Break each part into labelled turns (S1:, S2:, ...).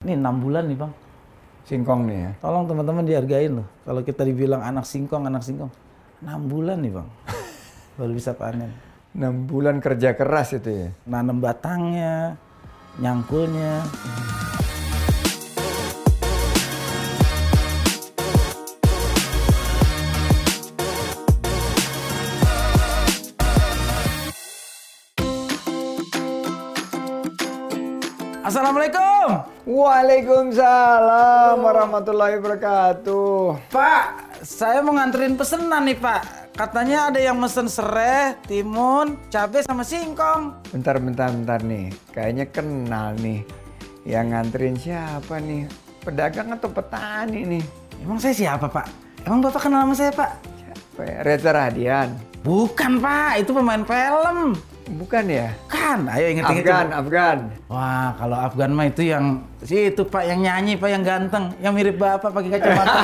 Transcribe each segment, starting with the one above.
S1: nih enam bulan nih bang.
S2: Singkong nih ya.
S1: Tolong teman-teman dihargain loh. Kalau kita dibilang anak singkong, anak singkong, enam bulan nih bang, baru bisa panen.
S2: 6 bulan kerja keras itu ya.
S1: Nanam batangnya, nyangkulnya. Assalamualaikum,
S2: Waalaikumsalam warahmatullahi wabarakatuh.
S1: Pak. Saya mau nganterin pesenan nih Pak. Katanya ada yang mesen serai, timun, cabai sama singkong.
S2: Bentar bentar bentar nih. Kayaknya kenal nih. Yang nganterin siapa nih? Pedagang atau petani nih?
S1: Emang saya siapa Pak? Emang Bapak kenal sama saya Pak?
S2: Siapa ya? Reza Radian.
S1: Bukan Pak, itu pemain film.
S2: Bukan ya?
S1: Kan, ayo inget-inget.
S2: Afgan,
S1: coba.
S2: Afgan.
S1: Wah, kalau Afgan mah itu yang si itu Pak yang nyanyi Pak yang ganteng, yang mirip Bapak pakai kacamata.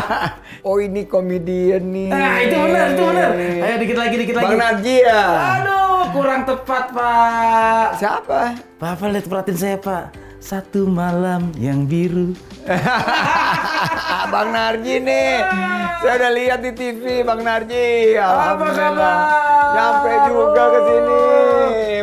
S2: Oh ini komedian nih.
S1: nah, itu benar, itu benar. Ayo dikit lagi, dikit lagi.
S2: Bang Nadia.
S1: Aduh, kurang tepat, Pak.
S2: Siapa?
S1: Bapak lihat perhatiin saya, Pak. Satu malam yang biru.
S2: Bang Narji nih, saya udah lihat di TV Bang Narji.
S1: Apa
S2: Alhamdulillah,
S1: kabar?
S2: nyampe juga ke sini,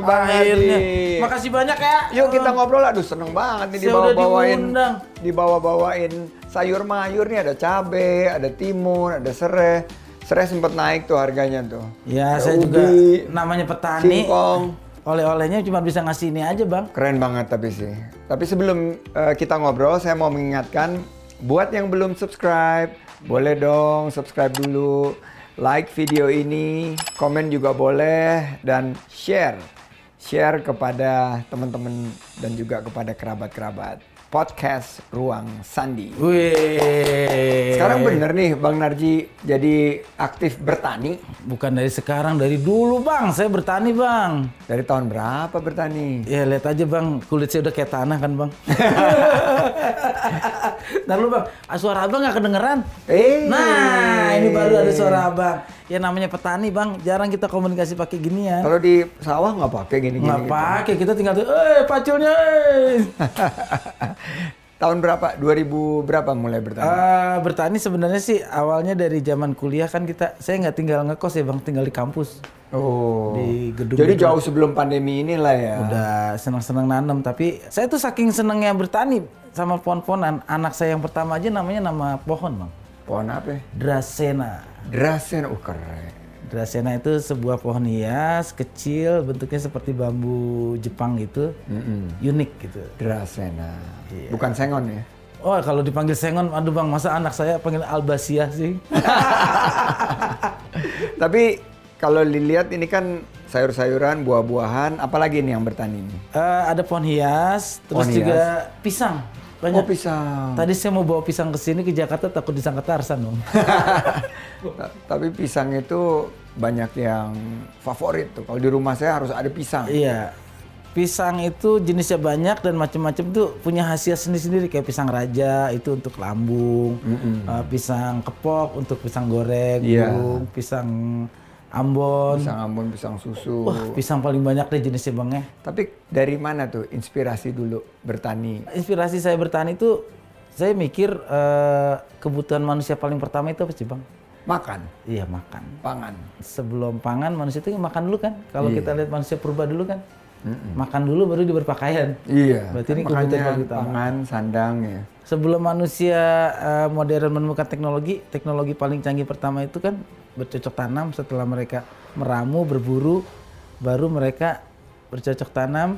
S2: Bang
S1: Akhirnya.
S2: Narji.
S1: Makasih banyak ya.
S2: Yuk kita ngobrol, aduh seneng banget nih
S1: Saya udah
S2: dibawa-bawain,
S1: diundang.
S2: dibawa-bawain sayur mayur nih ada cabe, ada timun, ada serai. Serai sempat naik tuh harganya tuh.
S1: Ya,
S2: Ada
S1: saya
S2: ubi,
S1: juga namanya petani.
S2: singkong.
S1: Oleh-olehnya cuma bisa ngasih ini aja, Bang.
S2: Keren banget tapi sih. Tapi sebelum eh, kita ngobrol, saya mau mengingatkan buat yang belum subscribe, boleh dong subscribe dulu, like video ini, komen juga boleh dan share. Share kepada teman-teman dan juga kepada kerabat-kerabat. Podcast Ruang Sandi.
S1: Wih.
S2: Sekarang bener nih Bang Narji jadi aktif bertani.
S1: Bukan dari sekarang, dari dulu bang. Saya bertani bang.
S2: Dari tahun berapa bertani?
S1: Ya lihat aja bang, kulit saya udah kayak tanah kan bang. Ntar lu bang, ah, suara abang nggak kedengeran.
S2: Eh.
S1: Nah, ini baru ada suara abang. Ya namanya petani bang, jarang kita komunikasi pakai ginian.
S2: Kalau di sawah nggak pakai gini-gini.
S1: Nggak
S2: gitu.
S1: pakai, kita tinggal tuh, eh paculnya, eh.
S2: Tahun berapa? 2000 berapa mulai bertani?
S1: Ah, bertani sebenarnya sih awalnya dari zaman kuliah kan kita, saya nggak tinggal ngekos ya bang, tinggal di kampus.
S2: oh.
S1: Di gedung
S2: Jadi jauh sebelum pandemi inilah ya.
S1: udah senang-senang nanam tapi saya tuh saking senengnya bertani sama pohon-pohonan anak saya yang pertama aja namanya nama pohon bang
S2: Pohon apa? ya?
S1: Dracena
S2: Drasen, oh keren.
S1: Dracena itu sebuah pohon hias kecil bentuknya seperti bambu Jepang gitu unik gitu
S2: Drasena. Ah.
S1: Iya.
S2: Bukan sengon ya.
S1: oh kalau dipanggil sengon aduh bang masa anak saya panggil albasia sih Ah.
S2: Tapi kalau dilihat ini kan sayur-sayuran, buah-buahan, apalagi nih yang bertani ini?
S1: Eh, ada pohon hias terus
S2: Pohon
S1: juga pisang
S2: Oh
S1: banyak
S2: pisang.
S1: tadi saya mau bawa pisang ke sini ke Jakarta takut disangka Tarsan dong
S2: Ah. Ta- Tapi pisang itu banyak yang favorit tuh. Kalau di rumah saya harus ada pisang.
S1: Iya. Pisang itu jenisnya banyak dan macam-macam tuh punya khasiat sendiri-sendiri kayak pisang raja itu untuk lambung, eh, pisang kepok untuk pisang goreng,
S2: Iya.
S1: burung, pisang Ambon.
S2: Pisang Ambon, pisang susu.
S1: Wah, pisang paling banyak deh jenisnya Bang ya.
S2: Tapi dari mana tuh inspirasi dulu bertani?
S1: Inspirasi saya bertani itu saya mikir eh, kebutuhan manusia paling pertama itu apa sih Bang?
S2: Makan,
S1: Iya, makan.
S2: pangan.
S1: sebelum pangan manusia itu makan dulu kan kalau kita lihat manusia purba dulu kan makan dulu baru dia berpakaian
S2: Iya.
S1: berarti ini
S2: makanya
S1: kebutuhan paling utama
S2: pangan, sandang ya.
S1: sebelum manusia eh, modern menemukan teknologi teknologi paling canggih pertama itu kan bercocok tanam setelah mereka meramu berburu baru mereka bercocok tanam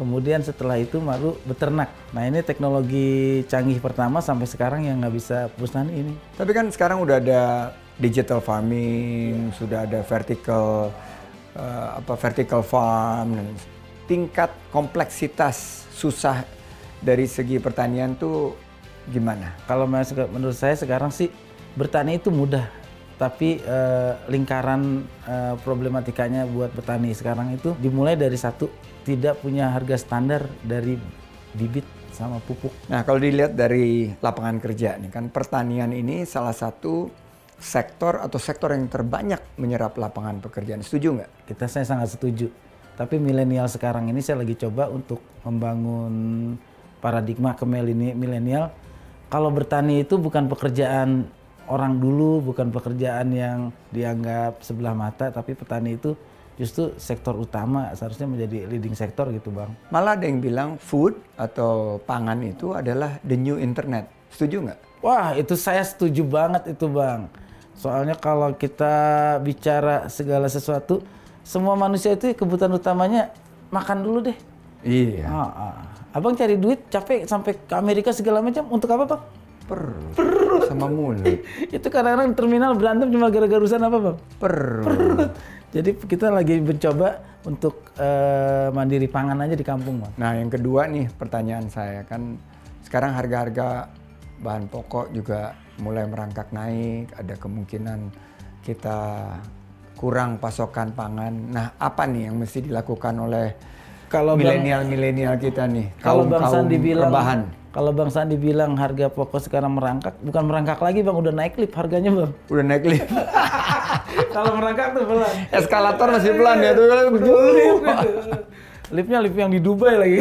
S1: kemudian setelah itu baru beternak nah ini teknologi canggih pertama sampai sekarang yang nggak bisa perusahaan ini
S2: Tapi kan sekarang udah ada digital farming, sudah ada vertical eh, apa vertical farm. dan Tingkat kompleksitas susah dari segi pertanian tuh gimana?
S1: Kalau men- seka- menurut saya sekarang sih bertani itu mudah, tapi eh, lingkaran eh, problematikanya buat petani sekarang itu dimulai dari satu tidak punya harga standar dari bibit sama pupuk.
S2: Nah, kalau dilihat dari lapangan kerja nih kan pertanian ini salah satu sektor atau sektor yang terbanyak menyerap lapangan pekerjaan. Setuju nggak?
S1: Kita saya sangat setuju. Tapi milenial sekarang ini saya lagi coba untuk membangun paradigma ke mileni- milenial. Kalau bertani itu bukan pekerjaan orang dulu, bukan pekerjaan yang dianggap sebelah mata, tapi petani itu justru sektor utama seharusnya menjadi leading sektor gitu bang.
S2: Malah ada yang bilang food atau pangan itu adalah the new internet. Setuju nggak?
S1: Wah, itu saya setuju banget itu, Bang. Soalnya kalau kita bicara segala sesuatu, semua manusia itu kebutuhan utamanya makan dulu deh.
S2: Iya.
S1: Ah, ah. Abang cari duit capek sampai ke Amerika segala macam untuk apa, Bang?
S2: Perut. Sama mulut.
S1: itu kadang-kadang di terminal berantem cuma gara-gara urusan apa, Bang?
S2: Perut.
S1: Jadi kita lagi mencoba untuk eh, mandiri pangan aja di kampung, Bang.
S2: Nah, yang kedua nih pertanyaan saya kan sekarang harga-harga bahan pokok juga mulai merangkak naik, ada kemungkinan kita kurang pasokan pangan. Nah, apa nih yang mesti dilakukan oleh
S1: Kalau Bang-
S2: milenial-milenial kita nih?
S1: Kalau Bang
S2: kaum-kaum
S1: Sandi bilang
S2: rebahan.
S1: kalau Bang Sandi bilang harga pokok sekarang merangkak, bukan merangkak lagi Bang, udah naik lift harganya Bang.
S2: udah naik lift.
S1: kalau merangkak tuh pelan.
S2: Eskalator masih pelan ya tuh.
S1: Liftnya lift yang di Dubai lagi.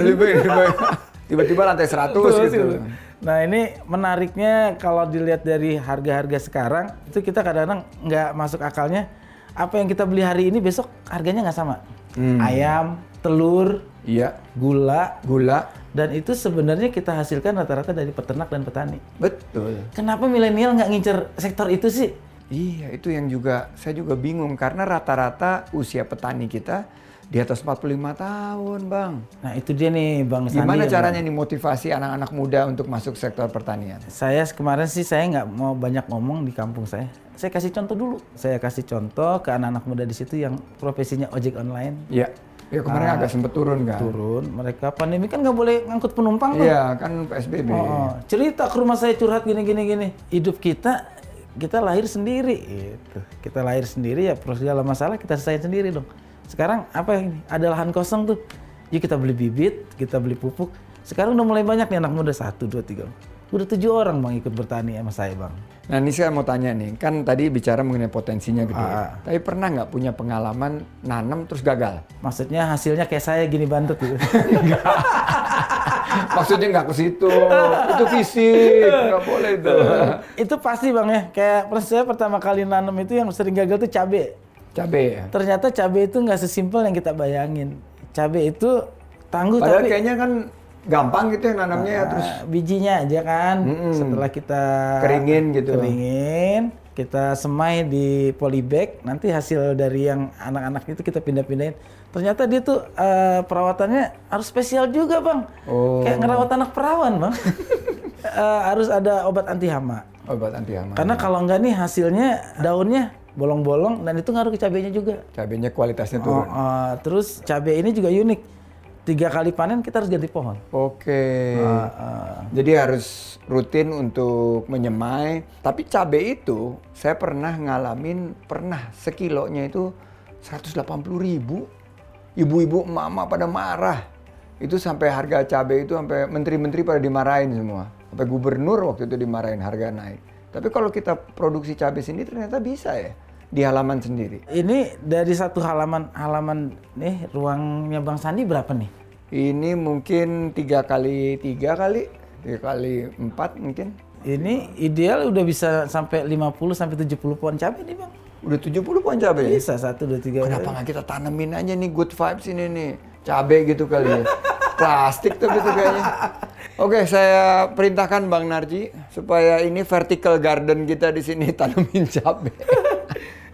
S2: Tiba-tiba lantai 100 gitu.
S1: Nah ini menariknya kalau dilihat dari harga-harga sekarang itu kita kadang-kadang nggak masuk akalnya apa yang kita beli hari ini besok harganya nggak sama.
S2: Hmm.
S1: Ayam, telur,
S2: Iya,
S1: gula
S2: gula.
S1: dan itu sebenarnya kita hasilkan rata-rata dari peternak dan petani.
S2: Betul.
S1: Kenapa milenial nggak ngincer sektor itu sih?
S2: Iya, itu yang juga saya juga bingung karena rata-rata usia petani kita di atas 45 tahun, Bang.
S1: Nah itu dia nih Bang Sandi.
S2: Gimana
S1: ya, Bang.
S2: caranya dimotivasi anak-anak muda untuk masuk sektor pertanian?
S1: Saya kemarin sih saya nggak mau banyak ngomong di kampung saya. Saya kasih contoh dulu. Saya kasih contoh ke anak-anak muda di situ yang profesinya ojek online
S2: Iya. Ya
S1: Ah.
S2: kemarin agak sempet turun kan?
S1: turun. Mereka pandemi kan nggak boleh ngangkut penumpang tuh.
S2: Iya, kan PSBB.
S1: Oh, cerita ke rumah saya curhat gini gini gini. Hidup kita kita lahir sendiri gitu. Kita lahir sendiri ya terus segala masalah kita selesaiin sendiri dong. Sekarang apa ini? Ada lahan kosong tuh. Yuk kita beli bibit, kita beli pupuk. Sekarang udah mulai banyak nih anak muda satu, dua, tiga. Udah tujuh orang bang ikut bertani sama saya bang.
S2: Nah, ini saya mau tanya nih, kan tadi bicara mengenai potensinya gede.
S1: Ah.
S2: Tapi pernah nggak punya pengalaman nanam terus gagal?
S1: Maksudnya hasilnya kayak saya gini bantut gitu.
S2: Maksudnya nggak ke situ, itu fisik, nggak boleh itu.
S1: itu pasti bang ya. Kayak persis saya pertama kali nanam itu yang sering gagal tuh cabe.
S2: Cabe ya?
S1: Ternyata cabe itu nggak sesimpel yang kita bayangin. Cabe itu tangguh
S2: Padahal
S1: tapi
S2: kayaknya kan gampang gitu ya nanamnya ya, terus
S1: uh, bijinya aja kan. Setelah kita
S2: keringin gitu.
S1: keringin, kita semai di polybag. Nanti hasil dari yang anak-anak itu kita pindah-pindahin. Ternyata dia tuh uh, perawatannya harus spesial juga bang.
S2: Oh.
S1: Kayak ngerawat anak perawan bang. Uh, harus ada obat anti hama.
S2: Obat anti hama.
S1: Karena kalau enggak nih hasilnya daunnya bolong-bolong dan itu ngaruh ke cabenya juga.
S2: cabenya kualitasnya
S1: Oh,
S2: turun.
S1: uh, terus cabai ini juga unik. Tiga kali panen kita harus ganti pohon.
S2: Oke. Ah, Jadi harus rutin untuk menyemai. Tapi cabe itu saya pernah ngalamin pernah sekilonya itu 180 ribu. Ibu-ibu mama pada marah. Itu sampai harga cabe itu sampai menteri-menteri pada dimarahin semua. Sampai gubernur waktu itu dimarahin harga naik. Tapi kalau kita produksi cabe sendiri ternyata bisa ya di halaman sendiri.
S1: Ini dari satu halaman halaman nih ruangnya Bang Sandi berapa nih?
S2: Ini mungkin tiga kali tiga kali, tiga kali empat mungkin.
S1: Ini ideal udah bisa sampai 50 sampai 70 pohon cabai nih, Bang.
S2: Udah 70 pohon ya? cabe.
S1: Bisa 1 2 3.
S2: Kenapa nggak kita tanemin aja nih good vibes ini nih cabe gitu kali ya. Plastik tuh gitu kayaknya. Oke, saya perintahkan Bang Narji supaya ini vertical garden kita di sini tanemin cabe.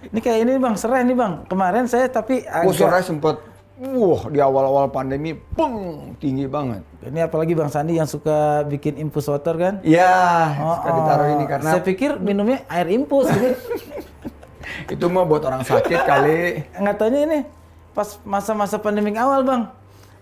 S1: Ini kayak ini Bang, serai nih Bang. Kemarin saya tapi
S2: Oh,
S1: agak
S2: sore sempet wah di awal-awal pandemi peng tinggi banget.
S1: ini apalagi Bang Sandi yang suka bikin impus water kan?
S2: Ya, suka ditaruh ini karena
S1: Saya pikir minumnya air impus.
S2: itu mah buat orang sakit kali.
S1: nggak taunya ini pas masa-masa pandemi awal bang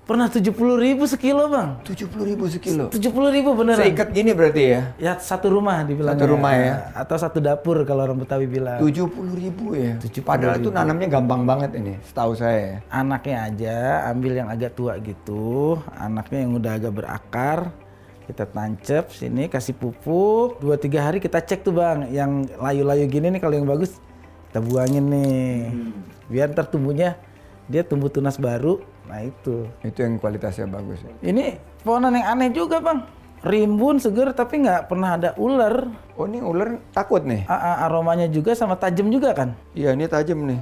S1: pernah tujuh puluh ribu sekilo bang
S2: 70.000 ribu sekilo.
S1: tujuh puluh ribu beneran
S2: Seikat gini berarti ya?
S1: ya satu rumah dibilang
S2: Satu rumah ya.
S1: atau satu dapur kalau orang betawi bilang
S2: 70.000 ribu ya? Padahal itu nanamnya gampang banget ini, setahu saya ya.
S1: anaknya aja ambil yang agak tua gitu anaknya yang udah agak berakar kita tancep sini kasih pupuk dua tiga hari kita cek tuh bang yang layu-layu gini nih kalau yang
S2: Hmm.
S1: bagus kita buangin nih biar ntar tumbuhnya dia tumbuh tunas baru Nah itu.
S2: Itu yang kualitasnya bagus. ya.
S1: Ini pohonan yang aneh juga bang. Rimbun seger tapi nggak pernah ada ular.
S2: Oh ini ular takut nih.
S1: A- a- aromanya juga sama tajam juga kan.
S2: Iya ini tajam nih.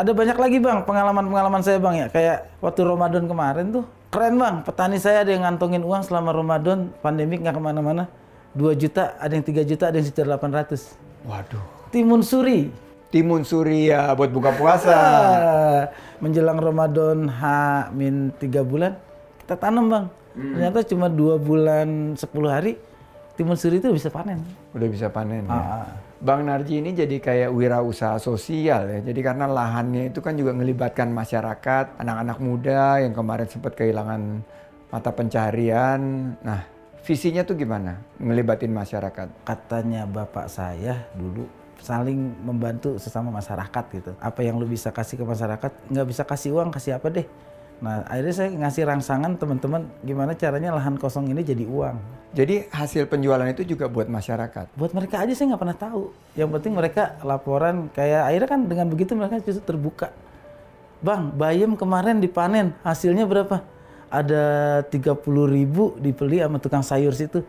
S1: Ada banyak lagi bang pengalaman-pengalaman saya bang ya. Kayak waktu Ramadan kemarin tuh. Keren bang, petani saya ada yang ngantongin uang selama Ramadan, pandemik nggak kemana-mana. 2 juta, ada yang 3 juta, ada yang sekitar 800.
S2: Waduh.
S1: Timun suri.
S2: Timun Surya buat buka puasa.
S1: Ah, menjelang Ramadan H min 3 bulan, kita tanam bang. Ternyata cuma 2 bulan 10 hari, timun suri itu bisa panen.
S2: Udah bisa panen.
S1: Ah.
S2: ya. Bang Narji ini jadi kayak wirausaha sosial ya. Jadi karena lahannya itu kan juga ngelibatkan masyarakat, anak-anak muda yang kemarin sempat kehilangan mata pencaharian. Nah, visinya tuh gimana? Ngelibatin masyarakat.
S1: katanya bapak saya dulu saling membantu sesama masyarakat gitu. Apa yang lu bisa kasih ke masyarakat, nggak bisa kasih uang, kasih apa deh. Nah akhirnya saya ngasih rangsangan teman-teman gimana caranya lahan kosong ini jadi uang.
S2: Jadi hasil penjualan itu juga buat masyarakat.
S1: Buat mereka aja saya nggak pernah tahu. Yang penting mereka laporan kayak akhirnya kan dengan begitu mereka justru terbuka. Bang, bayam kemarin dipanen, hasilnya berapa? Ada 30 ribu dibeli sama tukang sayur situ.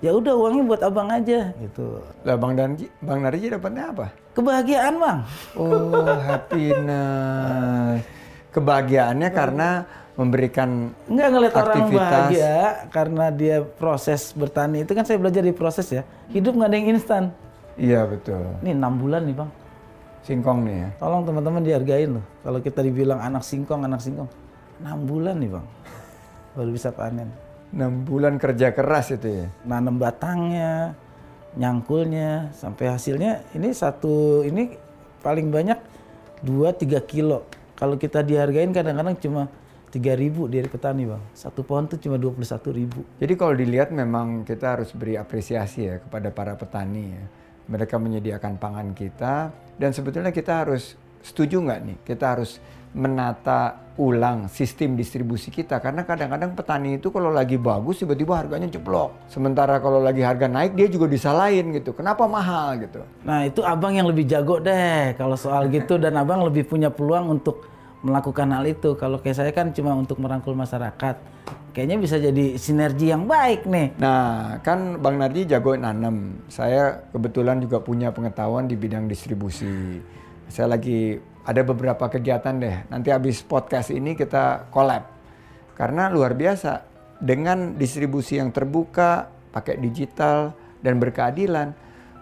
S1: Ya udah uangnya buat abang aja gitu.
S2: Lah Bang Narji, Bang Narji dapatnya apa?
S1: Kebahagiaan bang.
S2: Oh, happiness. Kebahagiaannya karena memberikan
S1: Enggak ngeliat orang
S2: Aktivitas.
S1: bahagia karena dia proses bertani itu kan saya belajar di proses ya. Hidup nggak ada yang instan.
S2: Iya betul.
S1: Ini enam bulan nih bang.
S2: Singkong nih ya.
S1: Tolong teman-teman dihargain loh. Kalau kita dibilang anak singkong, anak singkong. Enam bulan nih bang. Baru bisa panen.
S2: 6 bulan kerja keras itu ya.
S1: Nanam batangnya, nyangkulnya, sampai hasilnya ini satu ini paling banyak 2-3 kilo. Kalau kita dihargain kadang-kadang cuma 3.000 dari petani bang. Satu pohon tuh cuma 21.000 ribu.
S2: Jadi kalau dilihat memang kita harus beri apresiasi ya kepada para petani ya. Mereka menyediakan pangan kita dan sebetulnya kita harus setuju nggak nih? Kita harus menata ulang sistem distribusi kita karena kadang-kadang petani itu kalau lagi bagus tiba-tiba harganya jeblok. Sementara kalau lagi harga naik dia juga disalahin gitu. Kenapa mahal gitu?
S1: Nah itu abang yang lebih jago deh kalau soal gitu dan abang lebih punya peluang untuk melakukan hal itu. Kalau kayak saya kan cuma untuk merangkul masyarakat. Kayaknya bisa jadi sinergi yang baik nih.
S2: Nah, kan Bang Narji jago nanam. Saya kebetulan juga punya pengetahuan di bidang distribusi. Saya lagi ada beberapa kegiatan deh. Nanti habis podcast ini kita collab. Karena luar biasa dengan distribusi yang terbuka, pakai digital dan berkeadilan,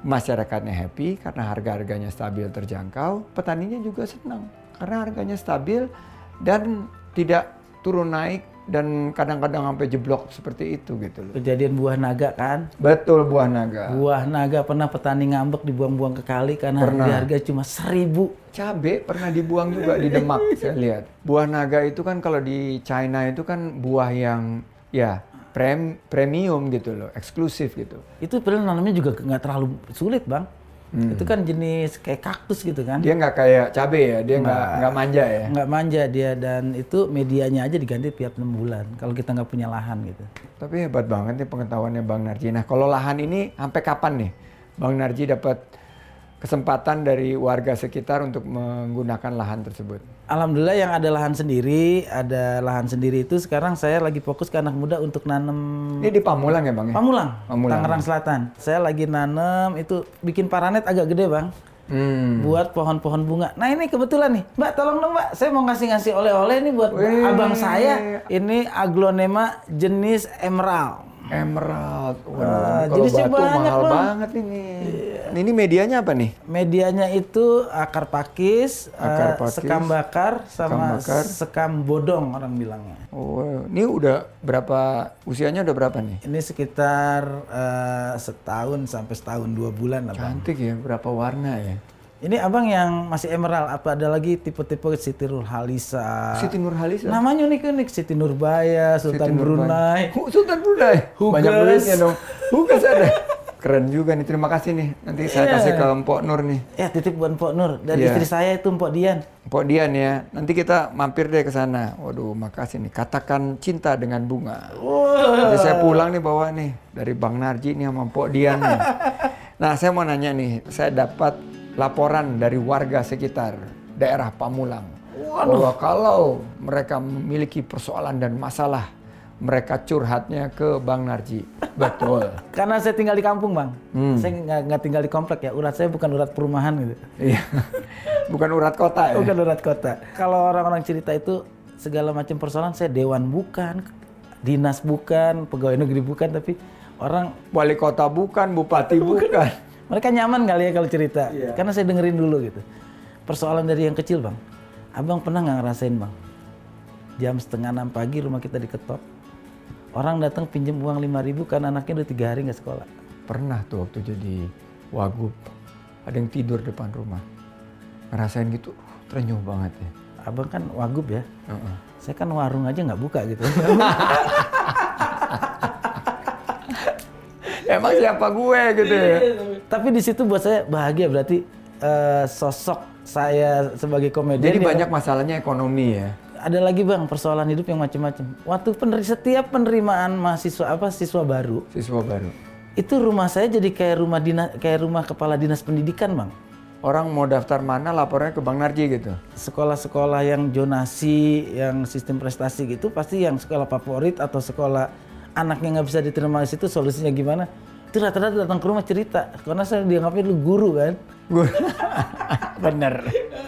S2: masyarakatnya happy karena harga-harganya stabil terjangkau, petaninya juga senang karena harganya stabil dan tidak turun naik dan kadang-kadang sampai jeblok seperti itu gitu loh.
S1: Kejadian buah naga kan.
S2: Betul buah naga.
S1: Buah naga pernah petani ngambek dibuang-buang ke kali karena di
S2: Pernah.
S1: harga cuma seribu.
S2: Cabe pernah dibuang juga di Demak saya lihat. Buah naga itu kan kalau di China itu kan buah yang ya prem- premium gitu loh, eksklusif gitu.
S1: Itu padahal nanamnya juga nggak terlalu sulit bang. Itu kan jenis kayak kaktus gitu kan.
S2: Dia nggak kayak cabe ya, dia nggak nggak manja ya.
S1: Nggak manja dia dan itu medianya aja diganti tiap enam bulan. Kalau kita nggak punya lahan gitu.
S2: Tapi hebat banget nih pengetahuannya Bang Narji. Nah kalau lahan ini sampai kapan nih Bang Narji dapat kesempatan dari warga sekitar untuk menggunakan lahan tersebut?
S1: Alhamdulillah yang ada lahan sendiri, ada lahan sendiri itu sekarang saya lagi fokus ke anak muda untuk nanem
S2: Ini di Pamulang ya Bang ya?
S1: pamulang,
S2: Pamulang.
S1: Tangerang Selatan. Saya lagi nanem itu bikin paranet agak gede bang,
S2: Hmm.
S1: buat pohon-pohon bunga. Nah ini kebetulan nih, Mbak tolong dong Mbak, saya mau ngasih-ngasih oleh-oleh nih buat
S2: Wih.
S1: abang saya. Ini aglonema jenis emerald.
S2: Emerald. Waduh,
S1: Wah,
S2: kalau
S1: jenisnya
S2: batu
S1: banyak,
S2: mahal
S1: Bang.
S2: Ah, banget Iya. ini. Ini medianya apa nih?
S1: Medianya itu akar pakis, eh,
S2: Akar pakis,
S1: sekam bakar, sama
S2: sekam bakar.
S1: sekam bodong orang bilangnya.
S2: Oh, ini udah berapa usianya udah berapa nih?
S1: Ini sekitar eh, setahun sampai setahun dua bulan abang.
S2: Cantik ya, berapa warna ya?
S1: Ini abang yang masih emerald, apa ada lagi tipe-tipe Siti Nurhalisa?
S2: Siti Nurhalisa.
S1: Namanya unik-unik, Siti Nurbaya, Sultan Brunei.
S2: Hu- Sultan Brunei.
S1: Hugas.
S2: Banyak duitnya dong. Hugas ada. Keren juga nih, terima kasih nih. Nanti saya kasih ke Mpok Nur nih.
S1: Ya titip buat Mpok Nur, dari
S2: Iya.
S1: istri saya itu Mpok Dian.
S2: Mpok Dian ya, nanti kita mampir deh ke sana. Waduh, makasih nih. Katakan cinta dengan bunga.
S1: Wah,
S2: Jadi saya pulang nih bawa nih dari Bang Narji nih sama Pok Dian nih. Nah saya mau nanya nih, saya dapat laporan dari warga sekitar daerah Pamulang. bahwa kalau mereka memiliki persoalan dan masalah, mereka curhatnya ke Bang Narji. Betul.
S1: Karena saya tinggal di kampung bang, saya nggak nggak tinggal di komplek ya. Urat saya bukan urat perumahan gitu,
S2: Iya. Bukan urat kota ya.
S1: bukan urat kota. Kalau orang-orang cerita itu segala macam persoalan saya dewan bukan, dinas bukan, pegawai negeri bukan, tapi orang
S2: Wali kota bukan, bupati bukan.
S1: mereka nyaman kali ya kalau cerita. Karena saya dengerin dulu gitu. Persoalan dari yang kecil bang, abang pernah nggak ngerasain bang? Jam setengah enam pagi rumah kita diketok, orang datang pinjam uang 5.000 ribu karena anaknya udah tiga hari nggak sekolah.
S2: Pernah tuh waktu jadi wagub, ada yang tidur depan rumah. Ngerasain gitu, uh, terenyuh banget ya.
S1: Abang kan wagub ya,
S2: Heeh.
S1: saya kan warung aja nggak buka gitu.
S2: Emang siapa gue gitu ya?
S1: Tapi di situ buat saya bahagia berarti eh, sosok saya sebagai komedian.
S2: Jadi
S1: ya,
S2: banyak masalahnya ekonomi ya.
S1: ada lagi bang persoalan hidup yang macam-macam. Waktu peneri, setiap penerimaan mahasiswa apa siswa baru
S2: Siswa baru.
S1: itu rumah saya jadi kayak rumah dinas kayak rumah kepala dinas pendidikan bang.
S2: Orang mau daftar mana lapornya ke Bang Narji gitu.
S1: Sekolah-sekolah yang jonasi, yang sistem prestasi gitu pasti yang sekolah favorit atau sekolah anaknya nggak bisa diterima di situ solusinya gimana? Itu rata-rata datang ke rumah cerita karena saya dianggapnya dulu guru kan.
S2: Gue bener.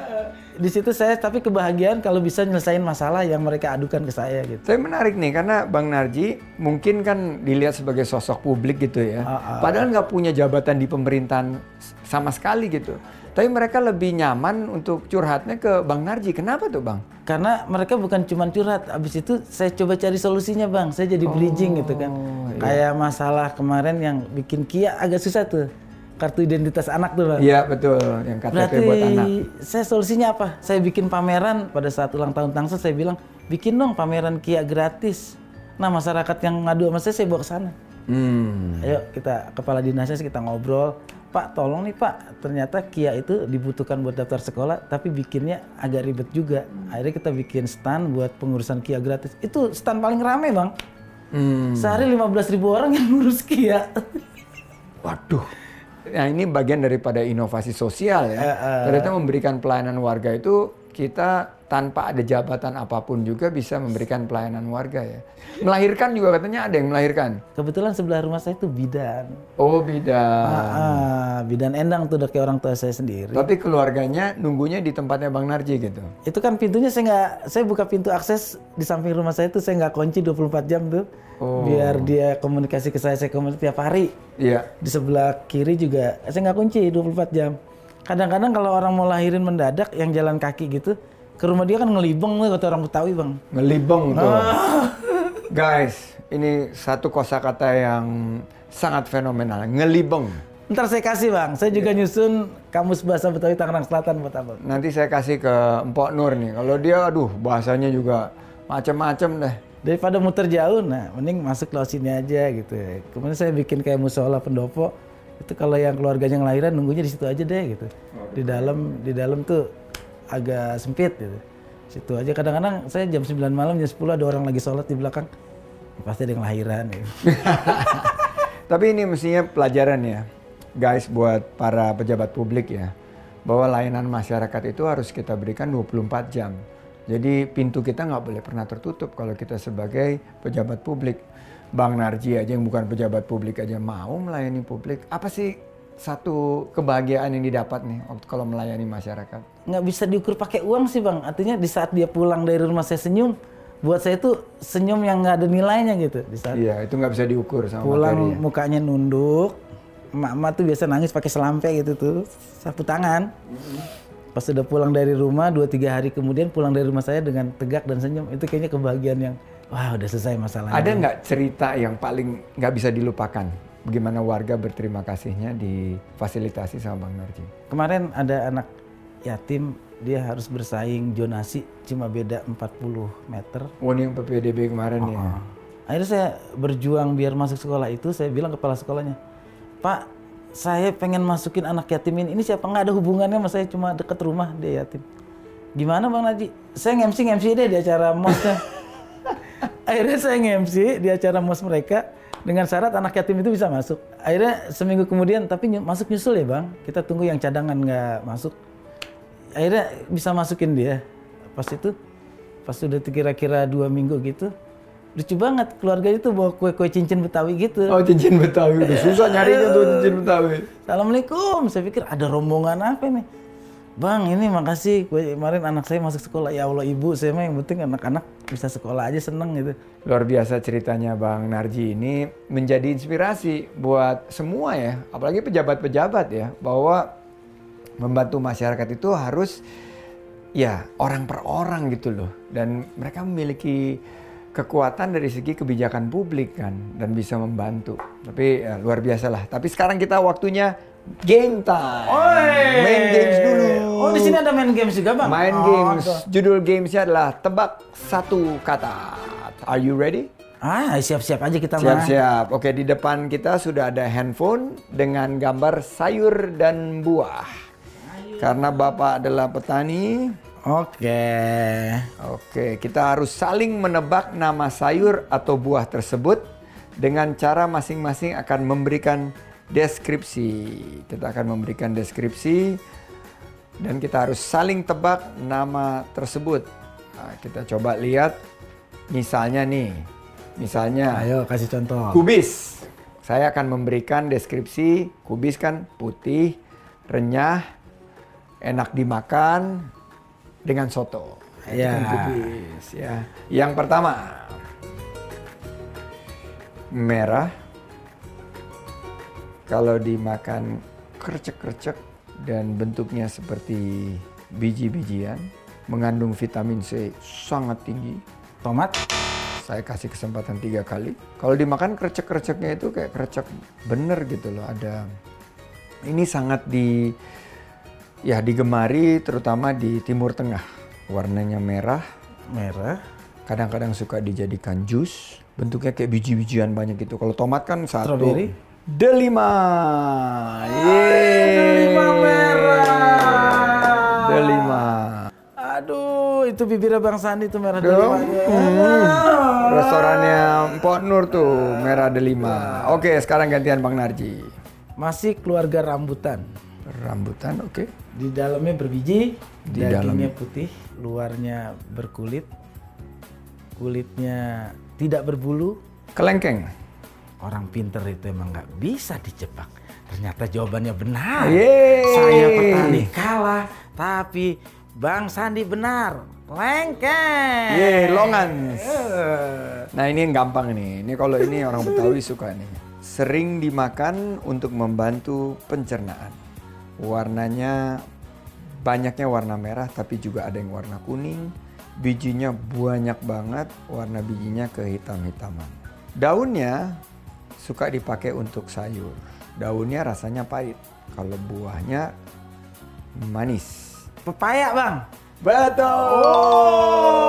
S1: di situ saya tapi kebahagiaan kalau bisa nyelesain masalah yang mereka adukan ke saya gitu.
S2: Tapi menarik nih karena Bang Narji mungkin kan dilihat sebagai sosok publik gitu ya. Padahal nggak punya jabatan di pemerintahan s- sama sekali gitu. Tapi mereka lebih nyaman untuk curhatnya ke Bang Narji. Kenapa tuh Bang?
S1: Karena mereka bukan cuma curhat, abis itu saya coba cari solusinya bang, saya jadi bridging gitu kan.
S2: Oh, iya.
S1: Kayak masalah kemarin yang bikin Kia agak susah tuh, kartu identitas anak tuh bang.
S2: Iya betul yang KTP
S1: Berarti
S2: buat anak.
S1: saya solusinya apa? Saya bikin pameran pada saat ulang tahun Tangsel saya bilang bikin dong pameran Kia gratis. Nah masyarakat yang ngadu sama saya saya bawa ke sana.
S2: Hmm.
S1: Ayo kita kepala dinasnya sih kita ngobrol. Pak tolong nih Pak, ternyata Kia itu dibutuhkan buat daftar sekolah, tapi bikinnya agak ribet juga. Akhirnya kita bikin stand buat pengurusan Kia gratis. Itu stand paling rame bang.
S2: Hmm.
S1: Sehari 15.000 ribu orang yang ngurus Kia.
S2: Waduh. Nah ini bagian daripada inovasi sosial ya. Ternyata memberikan pelayanan warga itu kita tanpa ada jabatan apapun juga bisa memberikan pelayanan warga ya. Melahirkan juga katanya ada yang melahirkan.
S1: Kebetulan sebelah rumah saya itu bidan.
S2: Oh beda.
S1: Ah, bidan Endang tuh udah kayak orang tua saya sendiri.
S2: Tapi keluarganya nunggunya di tempatnya Bang Narji gitu.
S1: Itu kan pintunya saya nggak, saya buka pintu akses di samping rumah saya itu saya nggak kunci 24 jam tuh.
S2: Oh.
S1: Biar dia komunikasi ke saya, saya komunikasi tiap hari.
S2: Iya.
S1: di sebelah kiri juga saya nggak kunci 24 jam kadang-kadang kalau orang mau lahirin mendadak yang jalan kaki gitu ke rumah dia kan ngelibeng tuh kata orang Betawi bang
S2: Ngelibeng tuh. Guys, ini satu kosakata yang sangat fenomenal. Ngelibeng.
S1: ntar saya kasih bang saya juga nyusun kamus bahasa Betawi Tangerang Selatan buat abang
S2: Nanti saya kasih ke Mpok Nur nih. Kalau dia aduh bahasanya juga macam-macam deh.
S1: daripada muter jauh nah mending masuk laut sini aja gitu kemudian saya bikin kayak musola pendopo itu kalau yang keluarganya ngelahiran nunggunya di situ aja deh gitu di dalam di dalam tuh agak sempit gitu situ aja kadang-kadang saya jam 9 malam jam 10 ada orang lagi sholat di belakang Ya, pasti ada yang lahiran gitu.
S2: Tapi ini mestinya pelajaran ya, guys buat para pejabat publik ya, bahwa layanan masyarakat itu harus kita berikan 24 jam. Jadi pintu kita nggak boleh pernah tertutup kalau kita sebagai pejabat publik. Bang Narji aja yang bukan pejabat publik aja mau melayani publik. Apa sih satu kebahagiaan yang didapat nih waktu- kalau melayani masyarakat?
S1: nggak bisa diukur pakai uang sih bang artinya di saat dia pulang dari rumah saya senyum buat saya itu senyum yang nggak ada nilainya gitu di saat
S2: Iya, itu nggak bisa diukur sama
S1: pulang
S2: materi.
S1: mukanya nunduk emak-emak tuh biasa nangis pakai selampe gitu tuh sapu tangan pas udah pulang dari rumah dua tiga hari kemudian pulang dari rumah saya dengan tegak dan senyum itu kayaknya kebahagiaan yang wah udah selesai masalahnya
S2: Ada nggak cerita yang paling nggak bisa dilupakan? Bagaimana warga berterima kasihnya difasilitasi sama Bang Narji?
S1: kemarin ada anak yatim dia harus bersaing jonasi cuma beda 40 meter
S2: Oh ini yang PPDB kemarin ya.
S1: Ah, akhirnya saya berjuang biar masuk sekolah itu saya bilang kepala sekolahnya pak saya pengen masukin anak yatim ini ini siapa nggak ada hubungannya sama saya cuma deket rumah dia yatim gimana bang Naji saya ngemsi ngemsi deh di acara mosnya akhirnya saya ngemsi di acara mos mereka dengan syarat anak yatim itu bisa masuk akhirnya seminggu kemudian tapi nyu- masuk nyusul ya bang kita tunggu yang cadangan nggak masuk akhirnya bisa masukin dia pas itu pas udah kira-kira dua minggu gitu lucu banget keluarga itu bawa kue-kue cincin betawi gitu
S2: Oh cincin Betawi udah susah nyarinya tuh cincin Betawi.
S1: Assalamualaikum. Saya pikir ada rombongan apa nih? Bang, ini makasih. Kue- Kemarin anak saya masuk sekolah. Ya Allah ibu, saya mah yang penting anak-anak bisa sekolah aja seneng gitu.
S2: Luar biasa ceritanya Bang Narji ini menjadi inspirasi buat semua ya, apalagi pejabat-pejabat ya, bahwa membantu masyarakat itu harus ya orang per orang gitu loh. Dan mereka memiliki kekuatan dari segi kebijakan publik kan dan bisa membantu. Tapi ya, luar biasa lah. Tapi sekarang kita waktunya game time. Main games dulu.
S1: Oh, di sini ada main games juga, Bang.
S2: Main
S1: Oh,
S2: games.
S1: ada.
S2: Judul gamesnya adalah tebak satu kata. Are you ready?
S1: Ah, siap-siap aja kita mah.
S2: Siap-siap. Oke, di depan kita sudah ada handphone dengan gambar sayur dan buah. Karena Bapak adalah petani,
S1: Oke.
S2: oke, kita harus saling menebak nama sayur atau buah tersebut dengan cara masing-masing akan memberikan deskripsi. Kita akan memberikan deskripsi dan kita harus saling tebak nama tersebut. Nah, kita coba lihat misalnya nih. Misalnya
S1: Ayo kasih contoh.
S2: Kubis. Saya akan memberikan deskripsi kubis kan putih, renyah, enak dimakan dengan soto. Itu kan
S1: Ya.
S2: kubis ya. Yang pertama merah kalau dimakan kercek-kercek dan bentuknya seperti biji-bijian mengandung vitamin C sangat tinggi
S1: Tomat.
S2: saya kasih kesempatan tiga kali. Kalau dimakan kercek-kerceknya itu kayak kercek bener gitu loh. Ada ini sangat di ya digemari terutama di Timur Tengah. Warnanya merah,
S1: Merah.
S2: kadang-kadang suka dijadikan jus. Bentuknya kayak biji-bijian banyak gitu. Kalau tomat kan satu.
S1: Strawberry. Ah,
S2: Delima. Yeay.
S1: delima merah.
S2: Delima.
S1: Aduh, itu bibirnya Bang Sandi tuh merah
S2: Dong.
S1: delimanya.
S2: Hmm.
S1: Hmm.
S2: Restorannya Mpok Nur tuh merah delima. Oke, sekarang gantian Bang Narji.
S1: Masih keluarga rambutan.
S2: Rambutan, oke.
S1: Di dalamnya berbiji,
S2: Di
S1: dagingnya putih, luarnya berkulit, kulitnya tidak berbulu.
S2: Kelengkeng.
S1: Orang pinter itu emang nggak bisa dijebak. Ternyata jawabannya benar.
S2: Yeay.
S1: Saya petani kalah, tapi Bang Sandi benar. Lengkeng.
S2: Yeay, longan. Nah ini yang gampang nih. Ini kalau ini orang Betawi suka nih. Sering dimakan untuk membantu pencernaan. Warnanya banyaknya warna merah tapi juga ada yang warna kuning. Bijinya banyak banget, warna bijinya kehitam-hitaman. Daunnya suka dipakai untuk sayur. Daunnya rasanya pahit. Kalau buahnya manis.
S1: Pepaya bang.
S2: Betul.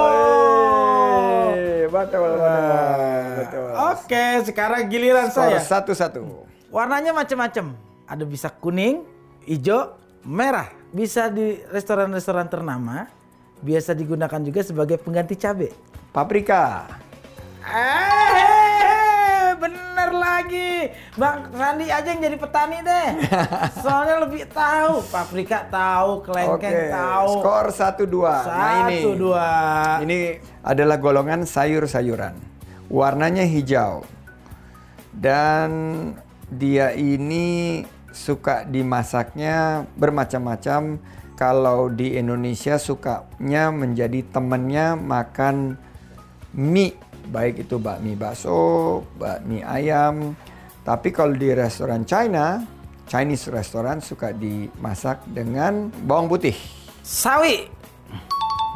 S2: Yeay, Betul. betul, Betul.
S1: Oke, sekarang giliran
S2: Skor
S1: saya.
S2: satu-satu.
S1: Warnanya macam-macam. Ada bisa kuning, hijau, merah. Bisa di restoran-restoran ternama. Biasa digunakan juga sebagai pengganti cabe.
S2: Paprika.
S1: Eh, bener lagi. Bang Sandi aja yang jadi petani deh. Soalnya lebih tahu. Paprika tahu, kelengkeng Kan tahu.
S2: Skor satu dua. Nah ini.
S1: Satu, dua.
S2: Ini adalah golongan sayur-sayuran. Warnanya hijau. Dan dia ini suka dimasaknya bermacam-macam. Kalau di Indonesia sukanya menjadi temennya makan mie. Baik itu bakmi bakso, bakmi ayam. Tapi kalau di restoran China, Chinese restoran suka dimasak dengan bawang putih.
S1: Sawi.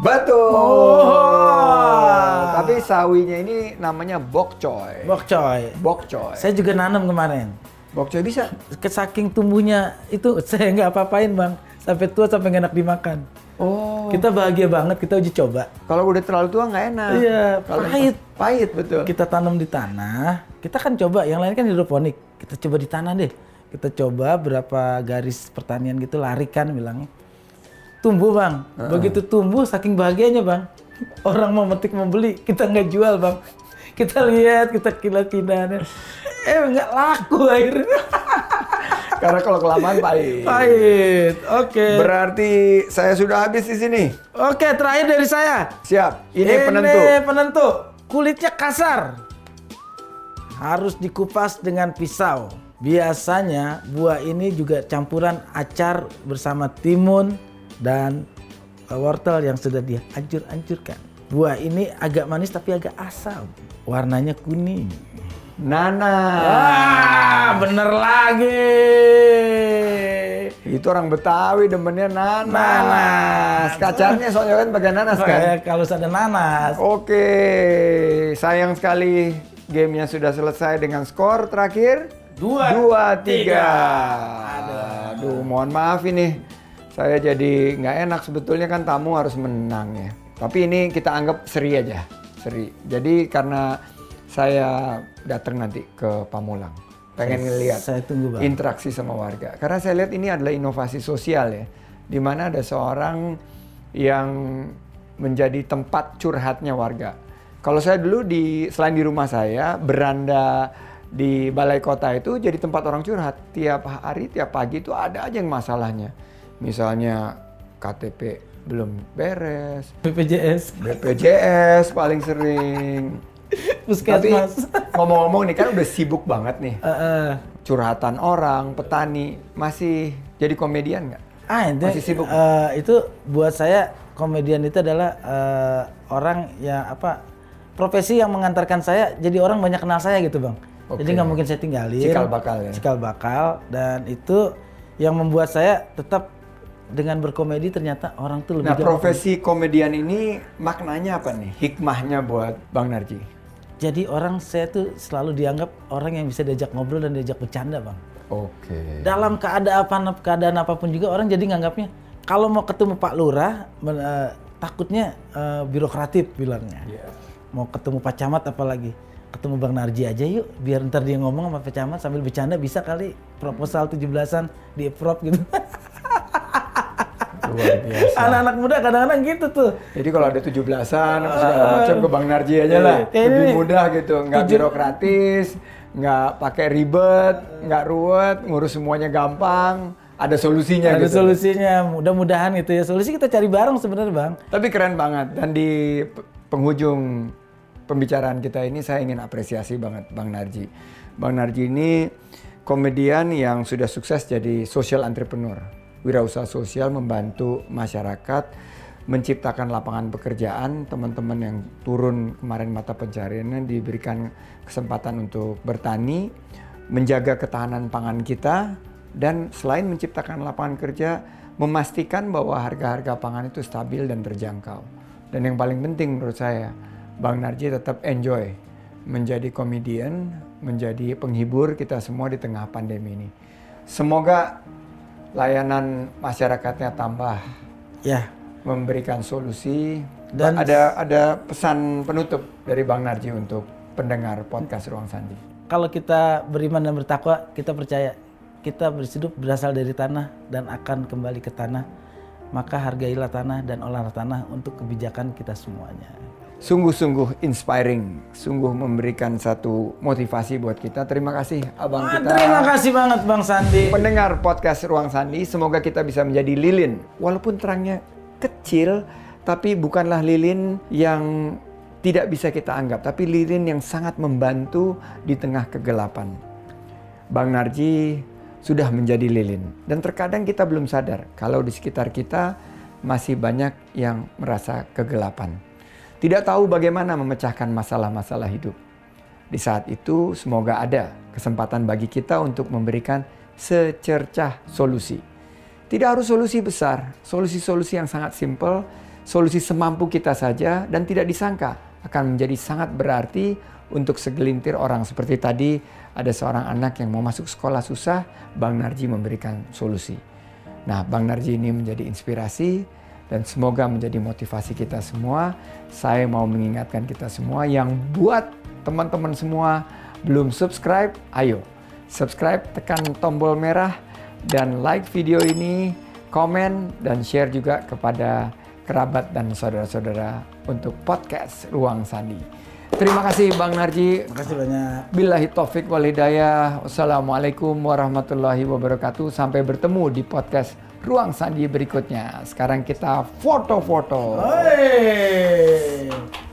S2: Betul.
S1: Oh.
S2: Tapi sawinya ini namanya bokcoy.
S1: Bokcoy.
S2: Bokcoy.
S1: Saya juga nanam kemarin.
S2: Bokcoy bisa.
S1: saking tumbuhnya itu saya nggak apa-apain bang sampai tua sampai nggak enak dimakan
S2: Oh.
S1: kita bahagia banget kita uji coba
S2: Kalau udah terlalu tua nggak enak.
S1: Iya,
S2: Kalau
S1: pahit.
S2: Pahit betul.
S1: kita tanam di tanah kita kan coba yang lain kan hidroponik kita coba di tanah deh kita coba berapa garis pertanian gitu larikan bilangnya tumbuh bang begitu tumbuh saking bahagianya bang orang mau metik mau beli kita nggak jual bang kita lihat kita kilat eh nggak laku akhirnya
S2: Karena kalau kelamaan pahit.
S1: Pahit. Oke.
S2: Berarti saya sudah habis di sini.
S1: Oke, terakhir dari saya.
S2: Siap. Ini penentu.
S1: Ini penentu. Kulitnya kasar. Harus dikupas dengan pisau. Biasanya buah ini juga campuran acar bersama timun dan eh, wortel yang sudah dihancur-hancurkan. Buah ini agak manis tapi agak asam. Warnanya kuning.
S2: Nana.
S1: Ah, bener lagi.
S2: Itu orang Betawi demennya nanas.
S1: Nanas.
S2: Kacarnya soalnya kan bagian nanas kan.
S1: Kayak kalau ada nanas.
S2: Oke, sayang sekali gamenya sudah selesai dengan skor terakhir
S1: Dua,
S2: dua
S1: tiga.
S2: tiga. Aduh, mohon maaf ini saya jadi nggak enak sebetulnya kan tamu harus menang ya. Tapi ini kita anggap seri aja, seri. Jadi karena saya datang nanti ke Pamulang, pengen ngeliat
S1: Saya tunggu banget.
S2: interaksi sama warga. Karena saya lihat ini adalah inovasi sosial ya, di mana ada seorang yang menjadi tempat curhatnya warga. Kalau saya dulu di selain di rumah saya, beranda di balai kota itu jadi tempat orang curhat. Tiap hari, tiap pagi itu ada aja yang masalahnya. Misalnya KTP belum beres,
S1: BPJS,
S2: BPJS paling sering. Tapi
S1: puskesmas.
S2: ngomong-ngomong nih kan udah sibuk banget nih
S1: Eh, eh.
S2: curhatan orang, petani, masih jadi komedian nggak?
S1: Ah, itu,
S2: Masih sibuk.
S1: eh, itu buat saya komedian itu adalah eh, orang yang apa profesi yang mengantarkan saya jadi orang banyak kenal saya gitu bang.
S2: Oke.
S1: Jadi nggak mungkin saya tinggalin.
S2: Cikal bakal ya.
S1: Iya. Cikal bakal dan itu yang membuat saya tetap dengan berkomedi ternyata orang tuh lebih
S2: Nah,
S1: gampang.
S2: profesi komedian ini maknanya apa nih? Hikmahnya buat Bang Narji.
S1: Jadi orang saya tuh selalu dianggap orang yang bisa diajak ngobrol dan diajak bercanda bang.
S2: Oke.
S1: dalam keadaan apa keadaan apapun juga orang jadi nganggapnya kalau mau ketemu Pak Lurah men- eh, takutnya eh, birokratif bilangnya
S2: Iya.
S1: mau ketemu Pak Camat apalagi ketemu Bang Narji aja yuk biar ntar dia ngomong sama Pak Camat sambil bercanda bisa kali proposal 17-an di approve gitu
S2: Luar biasa.
S1: anak-anak muda kadang-kadang gitu tuh
S2: Jadi kalau ada 17-an, apa segala macam ke Bang Narji aja lah.
S1: Ah. Iya, iya,
S2: Lebih
S1: iya.
S2: mudah gitu, nggak birokratis, nggak pakai ribet, nggak ruwet, ngurus semuanya gampang, ada solusinya
S1: ada
S2: gitu.
S1: solusinya mudah-mudahan gitu ya solusi kita cari bareng sebenarnya Bang
S2: Tapi keren banget dan di pe- penghujung pembicaraan kita ini saya ingin apresiasi banget Bang Narji. Bang Narji ini komedian yang sudah sukses jadi social entrepreneur, wirausaha sosial membantu masyarakat menciptakan lapangan pekerjaan teman-teman yang turun kemarin mata pencariannya diberikan kesempatan untuk bertani, menjaga ketahanan pangan kita, dan selain menciptakan lapangan kerja, memastikan bahwa harga-harga pangan itu stabil dan terjangkau. Dan yang paling penting menurut saya, Bang Narji tetap enjoy menjadi komedian, menjadi penghibur kita semua di tengah pandemi ini. Semoga layanan masyarakatnya tambah
S1: ya
S2: memberikan solusi
S1: Dan-
S2: dan ada ada pesan penutup dari Bang Narji untuk pendengar podcast Ruang Sandi.
S1: kalau kita beriman dan bertakwa, kita percaya kita berhidup berasal dari tanah dan akan kembali ke tanah. Maka hargailah tanah dan olah tanah untuk kebijakan kita semuanya.
S2: sungguh-sungguh inspiring, sungguh memberikan satu motivasi buat kita. Terima kasih abang kita.
S1: Terima kasih banget Bang Sandi.
S2: Pendengar podcast Ruang Sandi, semoga kita bisa menjadi lilin. Walaupun terangnya kecil, tapi bukanlah lilin yang tidak bisa kita anggap, tapi lilin yang sangat membantu di tengah kegelapan. Bang Narji sudah menjadi lilin dan terkadang kita belum sadar kalau di sekitar kita masih banyak yang merasa kegelapan. Tidak tahu bagaimana memecahkan masalah-masalah hidup. Di saat itu, semoga ada kesempatan bagi kita untuk memberikan secercah solusi. Tidak harus solusi besar, solusi-solusi yang sangat simpel, solusi semampu kita saja, dan tidak disangka akan menjadi sangat berarti untuk segelintir orang. Seperti tadi, ada seorang anak yang mau masuk sekolah susah, Bang Narji memberikan solusi. Nah, Bang Narji ini menjadi inspirasi dan semoga menjadi motivasi kita semua. Saya mau mengingatkan kita semua yang buat teman-teman semua belum subscribe, ayo subscribe, tekan tombol merah dan like video ini, komen dan share juga kepada kerabat dan saudara-saudara untuk podcast Ruang Sandi. Terima kasih Bang Narji.
S1: Makasih banyak.
S2: Billahi taufik wal hidayah. Wassalamualaikum warahmatullahi wabarakatuh. Sampai bertemu di podcast Ruang Sandi berikutnya. Sekarang kita foto-foto.
S1: Hei.